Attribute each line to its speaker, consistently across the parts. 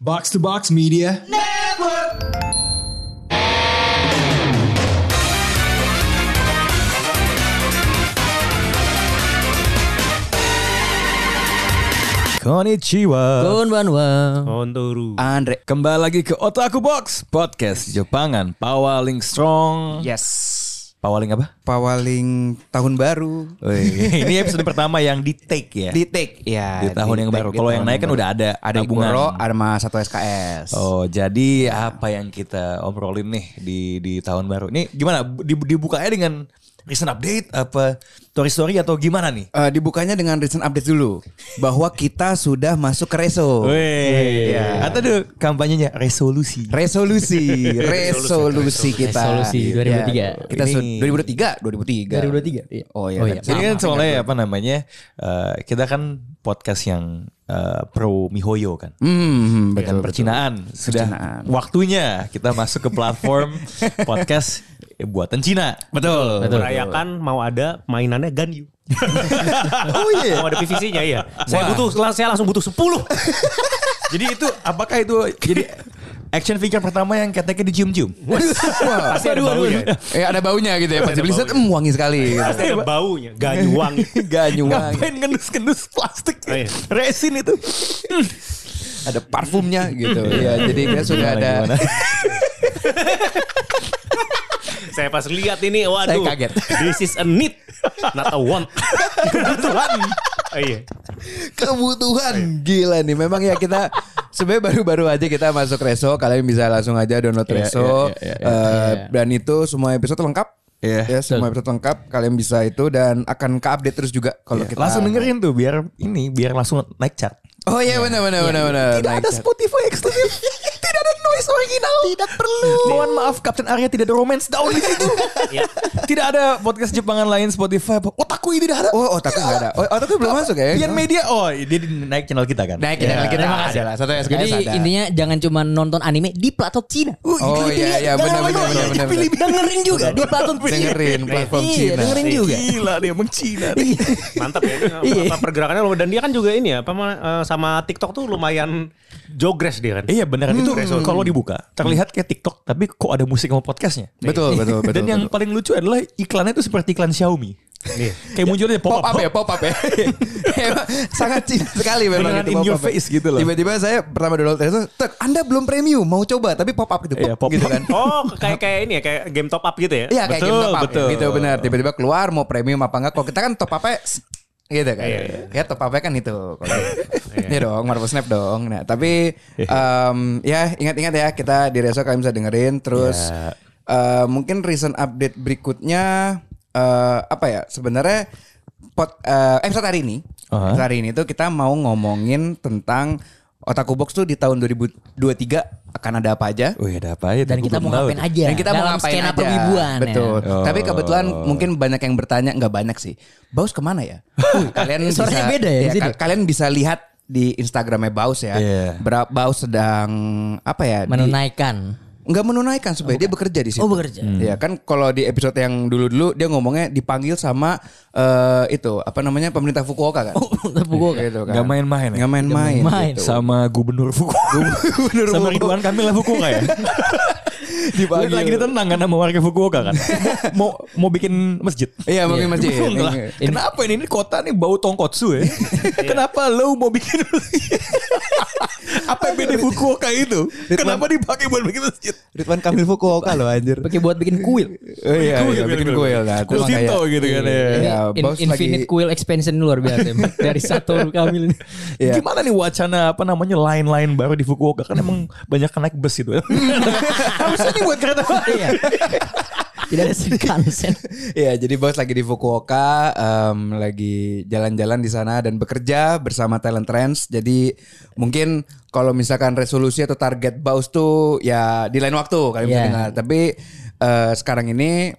Speaker 1: Box to Box Media.
Speaker 2: Konnichiwa
Speaker 3: Konbanwa.
Speaker 2: Kontoru
Speaker 3: Andre.
Speaker 2: Kembali lagi ke Otaku Box Podcast Jepangan Pawaling Strong
Speaker 3: Yes.
Speaker 2: Pawaling apa?
Speaker 3: Pawaling tahun baru.
Speaker 2: Wih, Oh, iya. Ini episode pertama yang di take ya
Speaker 3: Di take
Speaker 2: Di
Speaker 3: ya.
Speaker 2: tahun yang baru. Kalau yang naik kan udah ada
Speaker 3: ada di
Speaker 2: tabungan.
Speaker 3: Goro, Arma 1 SKS.
Speaker 2: Oh jadi apa yang kita obrolin nih di di tahun baru Ini gimana? Di- Dibukanya dengan recent update apa story story atau gimana nih?
Speaker 3: Eh, dibukanya dengan recent update dulu bahwa kita sudah masuk ke reso.
Speaker 2: Wih, Iya. atau ada kampanyenya resolusi.
Speaker 3: Resolusi, resolusi kita.
Speaker 4: Resolusi 2003.
Speaker 3: Ya, kita sudah 2003, 2003.
Speaker 4: 2003, iya.
Speaker 3: Oh iya.
Speaker 4: Oh,
Speaker 3: kan.
Speaker 4: iya.
Speaker 2: Jadi kan soalnya apa namanya eh, kita kan podcast yang eh, pro mihoyo kan. Dan
Speaker 3: Hmm, betul.
Speaker 2: percinaan sudah
Speaker 3: Percinaan.
Speaker 2: waktunya kita masuk ke platform podcast buatan Cina.
Speaker 3: Betul.
Speaker 4: Betul.
Speaker 5: merayakan mau ada mainannya Ganyu.
Speaker 2: Oh iya.
Speaker 5: Mau ada PVC-nya iya. Saya butuh lang- saya langsung butuh 10.
Speaker 2: jadi itu apakah itu jadi action figure pertama yang keteknya dicium-cium?
Speaker 5: Pasti ada baunya.
Speaker 3: Eh ada baunya gitu ya. Pas dibeli set, "Em, wangi sekali.
Speaker 5: Pasti ada baunya, Ganyu wangi.
Speaker 3: Ganyu wangi.
Speaker 2: Ngapain ngendus-ngendus plastik?
Speaker 5: Oh, iya.
Speaker 2: Resin itu.
Speaker 3: Ada parfumnya gitu. ya, jadi kita sudah ada
Speaker 5: Saya pas lihat ini waduh.
Speaker 3: Saya kaget.
Speaker 5: This is a need, not a want. Kebetulan. Oh, iya.
Speaker 3: kebutuhan gila nih memang ya kita sebenarnya baru-baru aja kita masuk reso kalian bisa langsung aja download
Speaker 2: Iya,
Speaker 3: reso
Speaker 2: iya, iya, iya,
Speaker 3: Eh, dan itu semua episode lengkap
Speaker 2: Iya.
Speaker 3: ya semua episode lengkap kalian bisa itu dan akan ke update terus juga kalau Ya, kita
Speaker 2: Iya. Langsung dengerin tuh biar ini biar langsung naik chart.
Speaker 3: oh iya benar benar benar benar
Speaker 2: Tidak
Speaker 3: Naik
Speaker 2: ada
Speaker 3: chat.
Speaker 2: Spotify eksklusif. tidak ada noise original. Tidak perlu. Mohon maaf Captain Arya tidak ada romance down di situ.
Speaker 5: Iya.
Speaker 2: tidak ada podcast Jepangan lain Spotify. Otaku ini tidak ada. Iya.
Speaker 3: oh otaknya nggak ada oh, otaknya belum masuk ya
Speaker 2: Pian Media. Oh, dia di- naik channel kita kan.
Speaker 3: naik ya, kita ada lah satu SKS
Speaker 4: Jadi
Speaker 3: ada.
Speaker 4: intinya jangan cuma nonton anime di platform Cina. Gitu
Speaker 3: Oh, iya, iya, benar, benar, benar, benar,
Speaker 4: Pilih dengerin juga di platform Cina.
Speaker 3: Dengerin platform
Speaker 4: Iya,
Speaker 3: Cina.
Speaker 4: dengerin juga.
Speaker 2: Gila dia emang Cina.
Speaker 3: Iya.
Speaker 5: Mantap ya. Ini apa pergerakannya lumayan. dan dia kan juga ini ya apa, eh, sama TikTok tuh lumayan jogres dia kan.
Speaker 2: Iya beneran
Speaker 3: Hmm.
Speaker 2: itu kalau dibuka terlihat kayak TikTok tapi kok ada musik sama podcastnya.
Speaker 3: Iya. betul betul betul
Speaker 2: Dan yang
Speaker 3: betul.
Speaker 2: paling lucu adalah iklannya itu seperti iklan Xiaomi.
Speaker 5: Iya.
Speaker 2: Kayak munculnya
Speaker 3: pop
Speaker 2: pop
Speaker 3: up
Speaker 2: up.
Speaker 3: ya, pop up ya. Emang Sangat Cina sekali memang
Speaker 2: Beneran in
Speaker 3: pop
Speaker 2: your
Speaker 3: up ya.
Speaker 2: face gitu loh.
Speaker 3: Tiba-tiba saya pertama download itu, tek, Anda belum premium, mau coba tapi pop up gitu.
Speaker 2: Iya, pop
Speaker 3: gitu
Speaker 2: up.
Speaker 3: kan.
Speaker 5: Oh, kayak kayak ini ya, kayak game top up gitu ya.
Speaker 3: Iya kayak
Speaker 2: Betul,
Speaker 3: game top up
Speaker 2: betul.
Speaker 3: gitu benar. Tiba-tiba keluar mau premium apa enggak? Kalau kita kan top up gitu kan.
Speaker 5: Iya,
Speaker 3: Ya top up kan itu. Kalau ini dong Marvel Snap dong. Nah, tapi em, ya ingat-ingat ya kita di Reso kalian bisa dengerin terus eh, mungkin recent update berikutnya eh, apa ya? Sebenarnya pot eh, episode hari ini.
Speaker 2: Uh-huh.
Speaker 3: episode hari ini tuh kita mau ngomongin tentang Otaku Box tuh di tahun 2023 akan ada apa aja?
Speaker 2: Wih ada apa ya?
Speaker 4: Dan kita mau ngapain aja?
Speaker 3: Dan kita mau
Speaker 4: dalam
Speaker 3: ngapain
Speaker 4: skena ya.
Speaker 3: aja.
Speaker 4: perwibuan.
Speaker 3: Betul.
Speaker 2: Iya. Oh.
Speaker 3: Tapi kebetulan mungkin banyak yang bertanya nggak banyak sih. Baus kemana ya? Wih, kalian bisa Iya,
Speaker 4: Suaranya beda ya di sini.
Speaker 3: ka- kalian bisa lihat di Instagramnya Baus ya.
Speaker 2: Iya.
Speaker 3: Bra- Baus sedang apa ya?
Speaker 4: Ya.
Speaker 3: di-
Speaker 4: Menunaikan.
Speaker 3: nggak menunaikan supaya dia bekerja di situ.
Speaker 4: Oh, bekerja.
Speaker 2: Hmm.
Speaker 3: Iya kan kalau di episode yang dulu-dulu dia ngomongnya dipanggil sama eh, itu apa namanya pemerintah Fukuoka kan.
Speaker 4: Oh, Tepuk gua.
Speaker 3: Gitu kan.
Speaker 2: Nggak main-main ya?
Speaker 3: Nggak main-main.
Speaker 4: main-main.
Speaker 3: gitu.
Speaker 2: sama gubernur Fukuoka. sama Ridwan Kamil lah Fukuoka ya.
Speaker 3: Dipanggil.
Speaker 2: Dipanggil. Lagi ditendang kan sama warga Fukuoka kan. mau mau bikin masjid.
Speaker 3: Iya, mau bikin masjid.
Speaker 2: Bingung lah.
Speaker 3: Ini- Iya.
Speaker 2: Kenapa ini ini kota nih bau tongkotsu ya? Kenapa lo mau bikin masjid? Apa yang beda Fukuoka itu? Kenapa dipakai buat bikin masjid?
Speaker 3: Ridwan Kamil Fukuoka loh anjir.
Speaker 4: Pakai buat bikin kuil.
Speaker 3: Oh iya, iya, bikin kuil lah.
Speaker 2: Kuil Shinto gitu kan ya.
Speaker 4: Ini
Speaker 3: Ya,
Speaker 4: in-
Speaker 3: Baus lagi-
Speaker 4: infinite kuil expansion luar biasa emang. dari satu Kamil ini.
Speaker 3: Iya.
Speaker 2: Gimana nih wacana apa namanya lain-lain baru di Fukuoka kan emang banyak yang naik bus itu. ya. Harusnya ini buat kereta api.
Speaker 4: Iya. Tidak ada Shinkansen.
Speaker 3: Iya, jadi bos lagi di Fukuoka, em, lagi jalan-jalan di sana dan bekerja bersama Talent Trends. Jadi mungkin kalau misalkan resolusi atau target bos tuh ya di lain waktu kalian bisa
Speaker 4: Iya.
Speaker 3: dengar. Tapi eh, sekarang ini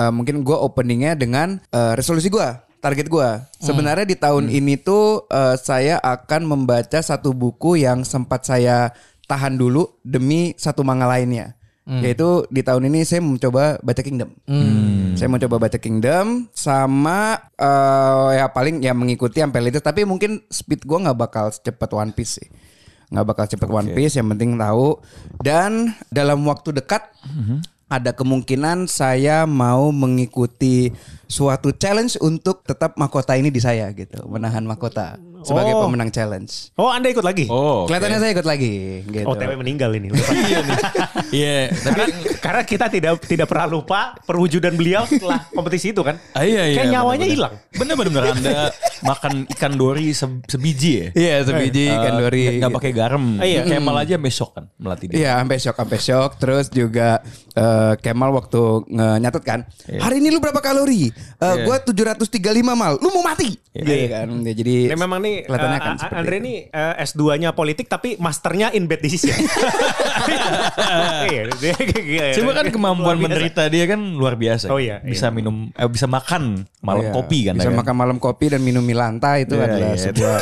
Speaker 3: eh, mungkin gue openingnya dengan eh, resolusi gue. Target gue sebenarnya di tahun ini tuh eh, saya akan membaca satu buku yang sempat saya tahan dulu demi satu manga lainnya,
Speaker 2: Hmm.
Speaker 3: yaitu di tahun ini saya mencoba baca Kingdom.
Speaker 2: Hmm.
Speaker 3: Saya mau coba baca Kingdom sama eh, ya paling ya mengikuti sampai itu tapi mungkin speed gua nggak bakal secepat One Piece sih. nggak bakal cepet One Piece yang penting tahu dan dalam waktu dekat
Speaker 2: Mm-hmm.
Speaker 3: ada kemungkinan saya mau mengikuti suatu challenge untuk tetap mahkota ini di saya gitu menahan mahkota sebagai
Speaker 5: Oh.
Speaker 3: pemenang challenge.
Speaker 5: Oh Anda ikut lagi?
Speaker 2: Oh, oke. Oh,
Speaker 3: Kelihatannya saya ikut lagi gitu.
Speaker 5: OTW meninggal ini.
Speaker 2: Iya, tapi
Speaker 5: Karena kita tidak tidak pernah lupa perwujudan beliau setelah kompetisi itu kan.
Speaker 2: Ah, iya, iya,
Speaker 5: Kayak nyawanya
Speaker 2: bener-bener.
Speaker 5: hilang.
Speaker 2: Bener-bener Anda makan ikan dori se- sebiji ya.
Speaker 3: Iya, sebiji ikan
Speaker 2: Eh,
Speaker 3: dori.
Speaker 2: nggak- Nggak pakai garam.
Speaker 5: Ah, iya.
Speaker 2: Kemal aja besok kan melatih dia.
Speaker 3: Iya, sampai shock, sampai shock. Terus juga eh, Kemal waktu nge- nyatet kan,
Speaker 5: Iya.
Speaker 3: hari ini lu berapa kalori? Eh, Gua 735 mal. Lu mau mati? Gitu kan. Ya, jadi
Speaker 5: Ya, Iya. memang nih
Speaker 3: kelihatannya
Speaker 5: eh,
Speaker 3: kan
Speaker 5: A-
Speaker 3: seperti
Speaker 5: Andre
Speaker 3: itu.
Speaker 5: ini eh, S2-nya politik tapi masternya in bad decision. Iya, dia kayak gila ya.
Speaker 2: Cuma kan kemampuan
Speaker 5: Luar biasa. Iya,
Speaker 2: menderita dia kan luar biasa.
Speaker 5: Oh, iya,
Speaker 2: Bisa
Speaker 5: iya.
Speaker 2: minum, eh, bisa makan malam
Speaker 3: Iya,
Speaker 2: kopi kan.
Speaker 3: Bisa
Speaker 2: kan?
Speaker 3: makan malam kopi dan minum mie lantai itu
Speaker 2: Iya,
Speaker 3: adalah
Speaker 2: iya,
Speaker 3: sebuah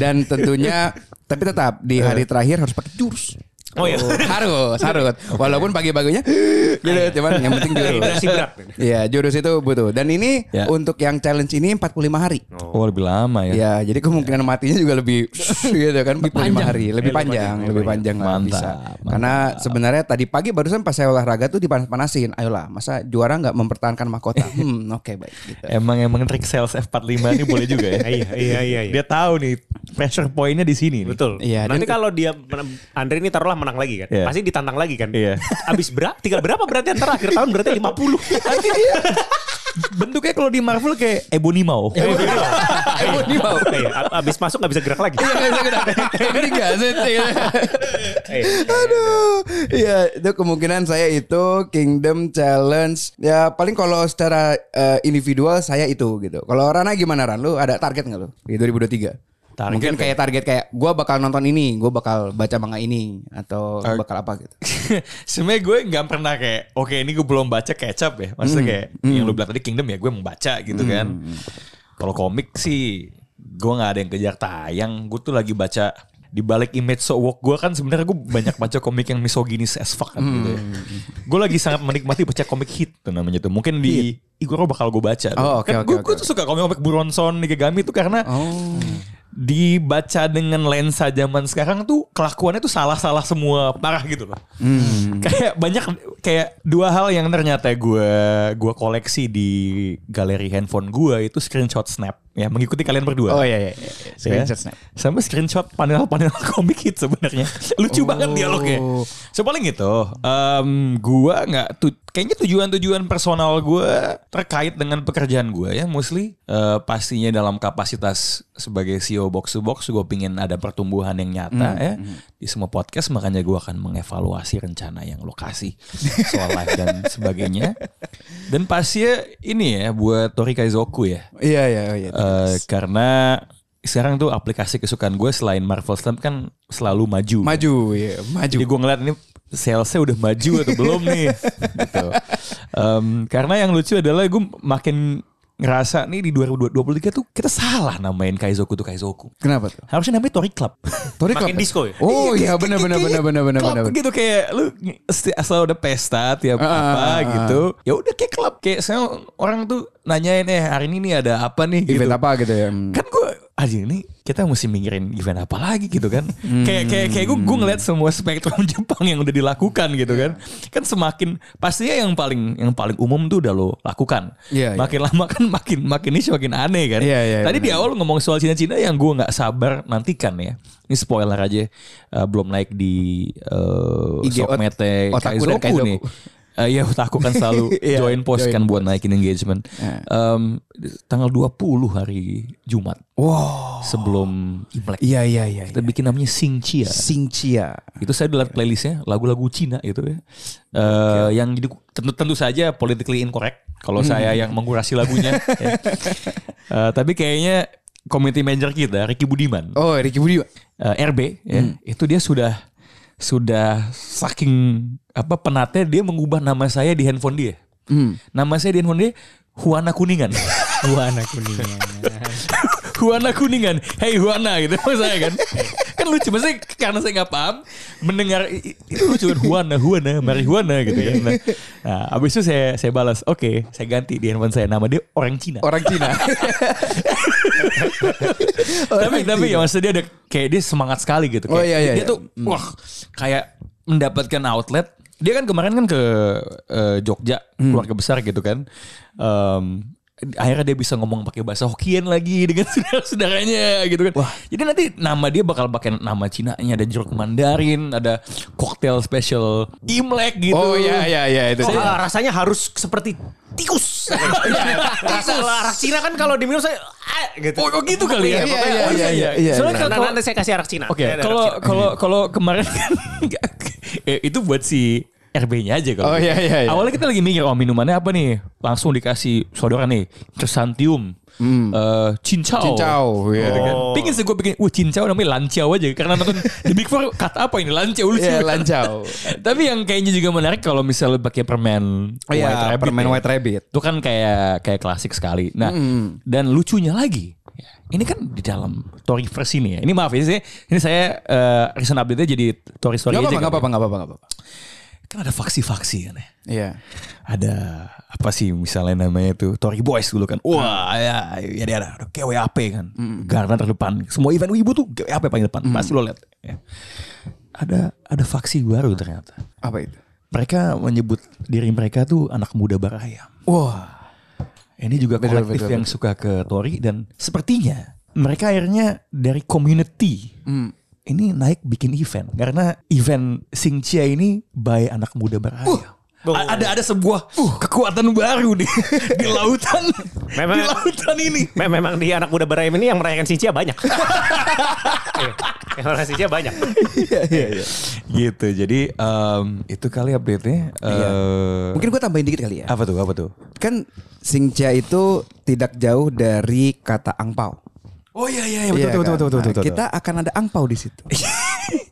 Speaker 3: dan tentunya tapi tetap di hari terakhir harus pakai jurus.
Speaker 5: Iya. Oh iya.
Speaker 3: harus, harus. Walaupun pagi-paginya gitu, cuman yang penting jurus.
Speaker 5: Hidrasi berat.
Speaker 3: Iya, jurus itu butuh. Dan ini
Speaker 2: Ya.
Speaker 5: Iya.
Speaker 3: untuk yang challenge ini 45 hari.
Speaker 2: Oh lebih lama ya.
Speaker 3: Ya, jadi kemungkinan matinya juga lebih gitu kan 45 hari, lebih
Speaker 5: Eh, lebih
Speaker 3: panjang,
Speaker 5: panjang,
Speaker 3: lebih
Speaker 5: lebih
Speaker 3: panjang lah
Speaker 2: Mantap,
Speaker 3: bisa.
Speaker 2: mantap.
Speaker 3: Karena sebenarnya tadi pagi barusan pas saya olahraga tuh dipanas-panasin. Ayolah, masa juara nggak mempertahankan mahkota? Hmm, oke baik gitu.
Speaker 2: Emang emang trik sales F45 ini boleh juga ya.
Speaker 5: Iya, iya, iya, iya.
Speaker 2: Dia tahu nih pressure poinnya di sini. Nih.
Speaker 5: Betul.
Speaker 3: Iya,
Speaker 5: Nanti
Speaker 3: dan-
Speaker 5: kalau dia men- Andre ini taruhlah menang lagi kan.
Speaker 2: Iya.
Speaker 5: Pasti ditantang lagi kan.
Speaker 2: Iya.
Speaker 5: Abis berapa? Tinggal berapa berarti antara akhir tahun berarti 50.
Speaker 2: Nanti dia bentuknya kalau di Marvel kayak Ebony Maw.
Speaker 5: Eh, gitu.
Speaker 3: Ini mau.
Speaker 5: Iya, ab- abis masuk gak bisa gerak lagi.
Speaker 3: Iya, nggak bisa gerak. Ini nggak sih, gitu.
Speaker 5: Eh,
Speaker 3: Aduh. Iya, itu kemungkinan saya itu Kingdom Challenge. Ya paling kalau secara eh, individual saya itu gitu. Kalau Rana gimana Ran? Lu ada target nggak lu di 2023?
Speaker 2: Target
Speaker 3: Mungkin
Speaker 2: ya?
Speaker 3: kayak target kayak gua bakal nonton ini, gua bakal baca manga ini atau bakal apa gitu.
Speaker 2: Sebenarnya gue nggak pernah kayak oke ini gue belum baca kecap ya. Maksudnya
Speaker 3: Hmm.
Speaker 2: kayak yang lu bilang tadi Kingdom ya gue membaca gitu kan. Kalau komik sih gue nggak ada yang kejar tayang. Gue tuh lagi baca di balik image so woke gue kan sebenarnya gue banyak baca komik yang misoginis as fuck kan gitu ya.
Speaker 3: Hmm.
Speaker 2: Gue lagi sangat menikmati baca komik hit tuh namanya tuh. Mungkin di Igoro bakal gue baca. tuh.
Speaker 3: Oh, oke,
Speaker 2: Kan
Speaker 3: oke,
Speaker 2: gue
Speaker 3: oke,
Speaker 2: gue tuh suka komik-komik Buronson, Nikigami tuh karena dibaca dengan lensa zaman sekarang tuh kelakuannya tuh salah-salah semua parah gitu loh.
Speaker 3: Hmm.
Speaker 2: Kayak banyak kayak dua hal yang ternyata gue gua koleksi di galeri handphone gue itu screenshot snap ya mengikuti kalian berdua.
Speaker 3: Oh iya iya. iya. Screenshot
Speaker 2: Ya.
Speaker 3: snap.
Speaker 2: Sama screenshot panel-panel komik hit sebenarnya. Lucu banget dialognya. So paling gitu. Em, gua nggak tu- kayaknya tujuan-tujuan personal gua terkait dengan pekerjaan gua ya mostly eh, pastinya dalam kapasitas sebagai CEO box to box gua pingin ada pertumbuhan yang nyata ya di semua podcast makanya gua akan mengevaluasi rencana yang lokasi soal live dan sebagainya. Dan pastinya ini ya buat Tori Kaizoku ya.
Speaker 3: Iya iya iya.
Speaker 2: Eh, karena sekarang tuh aplikasi kesukaan gue selain Marvel Snap kan selalu maju.
Speaker 3: maju ya, maju.
Speaker 2: Jadi gue ngeliat ini salesnya udah maju atau belum nih. gitu. Em, karena yang lucu adalah gue makin ngerasa nih di 2023 tuh kita salah namain Kaizoku tuh Kaizoku.
Speaker 3: Kenapa tuh?
Speaker 2: Harusnya namanya Tori Club.
Speaker 3: Tori
Speaker 5: Makin
Speaker 3: Club.
Speaker 5: disco ya?
Speaker 3: Oh iya benar benar benar benar benar
Speaker 2: Club
Speaker 3: benar.
Speaker 2: gitu kayak lu seti- asal udah pesta tiap
Speaker 3: Ah, ah,
Speaker 2: apa
Speaker 3: ah, ah.
Speaker 2: gitu. Ya udah kayak club kayak saya orang tuh nanyain eh hari ini nih ada apa nih gitu.
Speaker 3: Event apa gitu ya?
Speaker 2: kan gue aja ini kita mesti mikirin event apa lagi gitu kan
Speaker 3: Hmm.
Speaker 2: kayak kayak kayak gue gue ngeliat semua spektrum Jepang yang udah dilakukan gitu kan kan semakin pastinya yang paling yang paling umum tuh udah lo lakukan
Speaker 3: Iya, iya.
Speaker 2: makin lama kan makin makin ini makin aneh kan
Speaker 3: Iya, iya,
Speaker 2: tadi di
Speaker 3: benar.
Speaker 2: awal ngomong soal Cina-Cina yang gue nggak sabar nantikan ya ini spoiler aja eh, belum naik di eh,
Speaker 3: IG ot-
Speaker 2: sosmednya
Speaker 3: otaku dan
Speaker 2: Kaizoku
Speaker 3: Kaizoku.
Speaker 2: nih Eh, Iya, aku kan selalu
Speaker 3: Iya,
Speaker 2: join post
Speaker 3: join Iya.
Speaker 2: kan buat naikin engagement. Em, tanggal 20 hari Jumat
Speaker 3: Wow.
Speaker 2: sebelum Imlek.
Speaker 3: Oh. Iya iya iya.
Speaker 2: Kita bikin namanya Singcia.
Speaker 3: Singcia.
Speaker 2: Itu saya
Speaker 3: Iya.
Speaker 2: lihat playlistnya lagu-lagu Cina gitu ya. Eh, Yang jadi tentu tentu saja politically incorrect kalau
Speaker 3: Hmm.
Speaker 2: saya yang mengkurasi lagunya. ya. Eh, tapi kayaknya community manager kita Ricky Budiman
Speaker 3: Oh, Hmm. Ricky Budi.
Speaker 2: eh, RB ya, itu dia sudah sudah saking apa penatnya dia mengubah nama saya di handphone dia.
Speaker 3: Hmm.
Speaker 2: Nama saya di handphone dia Huana Kuningan.
Speaker 4: Buana kuningan.
Speaker 2: Huana kuningan. Hey Huana gitu maksud saya kan. kan lucu maksudnya karena saya nggak paham mendengar i- i- itu lucu kan Huana Huana mari Huana gitu kan. Nah, nah, abis itu saya saya balas oke saya ganti di handphone saya nama dia orang Cina.
Speaker 3: Orang Cina.
Speaker 2: tapi tapi ya maksudnya dia ada kayak dia semangat sekali gitu. Kayak
Speaker 3: Oh, iya, iya,
Speaker 2: dia
Speaker 3: iya.
Speaker 2: tuh wah kayak mendapatkan outlet. Dia kan kemarin kan ke eh, Jogja
Speaker 3: Hmm.
Speaker 2: keluarga besar gitu kan. Em, akhirnya dia bisa ngomong pakai bahasa Hokkien lagi dengan saudara-saudaranya gitu kan. Jadi nanti nama dia bakal pakai nama Cinanya ada jeruk mandarin, ada cocktail special Imlek gitu.
Speaker 3: oh iya iya iya itu.
Speaker 5: Oh,
Speaker 3: dia.
Speaker 5: ah, rasanya harus seperti tikus. Rasa arak Cina kan kalau diminum saya ah, gitu.
Speaker 2: Oh, oh gitu kali ya.
Speaker 3: Iya,
Speaker 2: Pokoknya-
Speaker 3: iya,
Speaker 2: oh,
Speaker 3: iya, iya, iya,
Speaker 2: Soalnya
Speaker 5: Nah,
Speaker 2: kalau- kalau-
Speaker 5: nanti saya kasih arak Cina.
Speaker 2: Oke,
Speaker 5: Saya ada
Speaker 2: kalau
Speaker 5: arak Cina.
Speaker 2: kalau kalau kemarin kan nggak- eh, itu buat si RB-nya aja kalau. gitu.
Speaker 3: Oh, iya, iya, iya.
Speaker 2: Awalnya kita lagi mikir oh minumannya apa nih? Langsung dikasih saudara nih, Tersantium.
Speaker 3: Hmm.
Speaker 2: eh, cincau.
Speaker 3: Cincau, iya.
Speaker 2: Gitu kan.
Speaker 5: Oh.
Speaker 2: Pingin sih gue bikin, wah cincau namanya lancau aja. Karena nonton The Big Four kata apa ini, lancau. lucu.
Speaker 3: Iya, lancau.
Speaker 2: Tapi yang kayaknya juga menarik kalau misalnya pakai permen
Speaker 3: Oh, iya, permen
Speaker 2: ya.
Speaker 3: White Rabbit.
Speaker 2: Itu kan kayak kayak klasik sekali. Nah, dan lucunya lagi, ya, ini kan di dalam Tory verse ini ya. Ini maaf ya, saya- ini saya eh, recent update-nya jadi Tory story
Speaker 3: Gak
Speaker 2: aja. kali
Speaker 3: apa-apa, gak apa-apa, gak apa-apa, gak apa-apa.
Speaker 2: ya. Kan ada faksi-faksi kan ya.
Speaker 3: Iya.
Speaker 2: Ada apa sih misalnya namanya itu Tory Boys dulu kan. Wah, ya ya ada ada KWAP kan. Garda terdepan. Semua event wibu tuh KWAP paling depan. Pasti lo lihat. ya. Ada ada faksi baru ternyata.
Speaker 3: Apa itu?
Speaker 2: Mereka menyebut diri mereka tuh anak muda barayam.
Speaker 3: Wah.
Speaker 2: Ini juga
Speaker 3: Betul,
Speaker 2: kolektif
Speaker 3: betul,
Speaker 2: yang suka ke Tory dan sepertinya mereka akhirnya dari community ini naik bikin event karena event Singcia ini by anak muda beraya. A- Ada ada sebuah kekuatan baru di di lautan
Speaker 5: Memang-
Speaker 2: di lautan ini.
Speaker 5: Me- Memang di anak muda berayam ini yang merayakan Sincia banyak. Iya, yang merayakan Sincia banyak.
Speaker 3: Iya, iya, iya.
Speaker 2: Gitu. Jadi em, itu kali update-nya. Eh,
Speaker 3: Mungkin gue tambahin dikit kali ya.
Speaker 2: apa tuh? Apa tuh?
Speaker 3: Kan Singcha itu tidak jauh dari kata angpau.
Speaker 2: Oh iya iya
Speaker 3: Iya
Speaker 2: betul, betul,
Speaker 3: kan?
Speaker 2: betul, betul,
Speaker 3: Nah,
Speaker 2: betul, betul.
Speaker 3: Kita akan ada angpau di situ.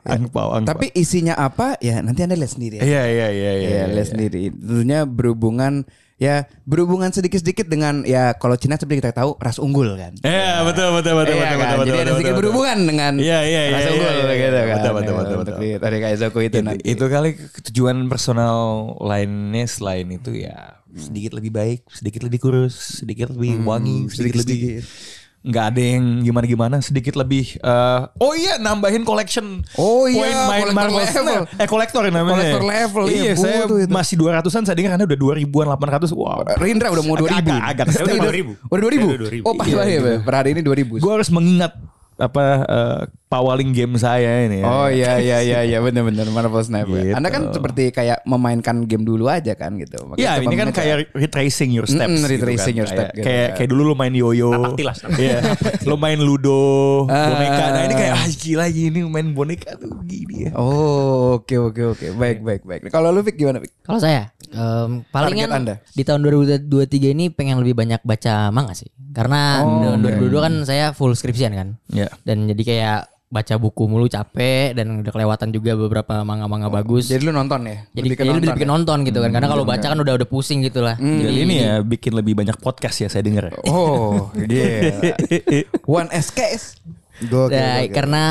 Speaker 2: angpau angpau.
Speaker 3: Tapi isinya apa? Ya nanti Anda lihat sendiri.
Speaker 2: iya iya iya iya.
Speaker 3: Iya, lihat sendiri. Tentunya berhubungan ya berhubungan sedikit-sedikit dengan ya kalau Cina seperti kita tahu ras unggul kan.
Speaker 2: Iya betul betul betul betul betul.
Speaker 3: Iya kan? Jadi
Speaker 2: betul,
Speaker 3: ada
Speaker 2: betul,
Speaker 3: sedikit
Speaker 2: betul.
Speaker 3: berhubungan dengan
Speaker 2: Iya, iya, iya,
Speaker 3: ras
Speaker 2: iya,
Speaker 3: unggul
Speaker 2: iya, iya.
Speaker 3: gitu kan.
Speaker 2: Betul, betul,
Speaker 3: Nah,
Speaker 2: betul,
Speaker 3: untuk
Speaker 2: betul.
Speaker 3: di Tadi kayak Zoko itu nanti.
Speaker 2: Itu kali tujuan personal lainnya selain itu ya sedikit lebih baik, sedikit lebih kurus, sedikit lebih
Speaker 3: Hmm,
Speaker 2: wangi, sedikit,
Speaker 3: sedikit-sedikit.
Speaker 2: lebih nggak ada yang gimana-gimana, sedikit lebih eh, oh iya nambahin collection.
Speaker 3: Oh iya,
Speaker 2: Point main
Speaker 3: collector
Speaker 2: Marvel.
Speaker 3: level.
Speaker 2: Eh kolektor namanya.
Speaker 3: Collector level, iya,
Speaker 2: Iya,
Speaker 3: bu,
Speaker 2: saya
Speaker 3: tuh itu.
Speaker 2: masih 200-an saya dengar Anda udah 2000-an 800. Wow.
Speaker 3: Rindra udah mau 2000.
Speaker 2: Agak, agak.
Speaker 3: Udah
Speaker 5: Saya udah 2000.
Speaker 3: 2000. Udah 2000.
Speaker 5: Saya udah 2000.
Speaker 3: Oh,
Speaker 2: Iya,
Speaker 3: pas banget ya, Bang. Per hari ini 2000.
Speaker 2: Gue harus mengingat apa eh, pawaling game saya ini. ya.
Speaker 3: Oh iya iya iya iya benar-benar Marvel Sniper.
Speaker 2: Gitu.
Speaker 3: Anda kan seperti kayak memainkan game dulu aja kan gitu. Makanya
Speaker 2: Iya,
Speaker 3: coba
Speaker 2: ini kan
Speaker 3: mengejar.
Speaker 2: kayak retracing your steps.
Speaker 3: Mm-mm,
Speaker 2: gitu
Speaker 3: retracing
Speaker 2: kan.
Speaker 3: your step
Speaker 2: Kayak,
Speaker 3: gitu
Speaker 2: kayak,
Speaker 3: kan.
Speaker 2: kayak dulu lu main yoyo.
Speaker 5: Napak tilas, napak
Speaker 2: Iya. lu main ludo,
Speaker 3: Ah.
Speaker 2: boneka. Nah, ini kayak ah gila ini main boneka tuh gini ya.
Speaker 3: Oh, oke oke oke. Baik baik baik. Kalau lu Vic gimana Vic?
Speaker 4: Kalau saya em, palingan
Speaker 3: Anda?
Speaker 4: di tahun 2023 ini pengen lebih banyak baca manga sih.
Speaker 3: Oh,
Speaker 4: Karena
Speaker 3: iya,
Speaker 4: tahun 2022 kan saya full skripsian kan.
Speaker 2: Iya.
Speaker 4: Dan jadi kayak baca buku mulu capek dan udah kelewatan juga beberapa manga-manga bagus.
Speaker 3: Oh, Jadi lu nonton ya?
Speaker 4: jadi
Speaker 3: Lebih ke
Speaker 4: jadi lebih
Speaker 3: nonton ya?
Speaker 4: bikin
Speaker 3: iya. Hmm,
Speaker 4: nonton gitu kan. Karena kalau baca kan udah udah pusing gitu lah.
Speaker 2: Jadi ini ya bikin lebih banyak podcast ya saya dengar. ya.
Speaker 3: Oh, iya. One SKS. Gokil.
Speaker 4: Nah,
Speaker 3: gokil.
Speaker 4: karena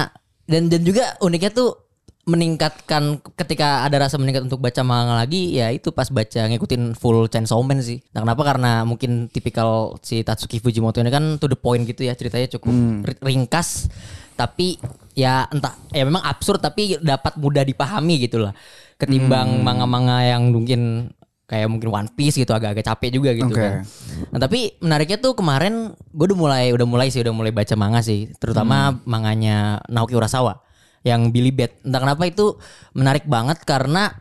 Speaker 4: dan dan juga uniknya tuh meningkatkan ketika ada rasa meningkat untuk baca manga lagi ya itu pas baca ngikutin full Chainsaw Man sih. Nah, kenapa? Karena mungkin tipikal si Tatsuki Fujimoto ini kan to the point gitu ya ceritanya cukup ri- ringkas tapi ya entah ya memang absurd tapi dapat mudah dipahami gitu lah. Ketimbang manga-manga yang mungkin kayak mungkin One Piece gitu agak-agak capek juga gitu
Speaker 3: Oke.
Speaker 4: kan. Nah, tapi menariknya tuh kemarin gue udah mulai udah mulai sih udah mulai baca manga sih, terutama manganya Naoki Urasawa yang Billy Bat. Entah kenapa itu menarik banget karena